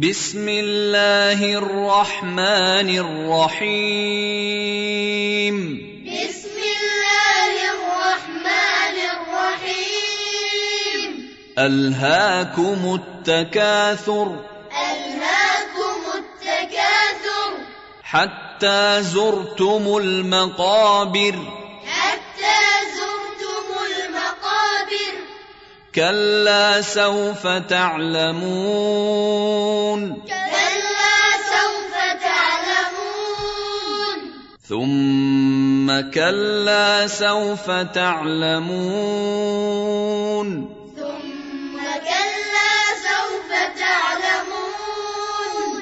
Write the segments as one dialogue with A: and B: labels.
A: بسم الله الرحمن الرحيم
B: بسم الله الرحمن الرحيم
A: ألهاكم التكاثر
B: ألهاكم التكاثر
A: حتى زرتم المقابر
B: حتى زرتم المقابر
A: كلا سوف تعلمون
B: كلا سوف تعلمون
A: ثم كلا سوف تعلمون
B: ثم كلا سوف تعلمون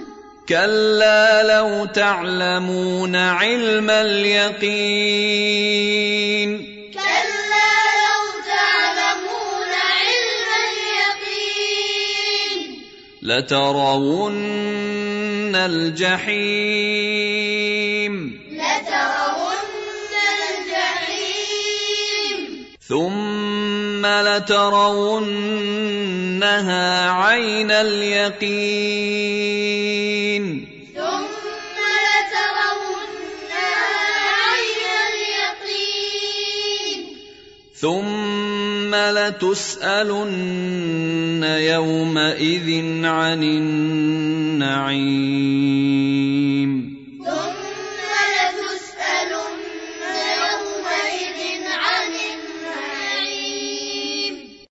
A: كلا لو تعلمون علم اليقين
B: كلا لو تعلمون علم اليقين
A: لترون الجحيم
B: لترون الجحيم
A: ثم لترونها عين اليقين
B: ثم لترونها عين اليقين
A: ثم لتسالن يومئذ عن النعيم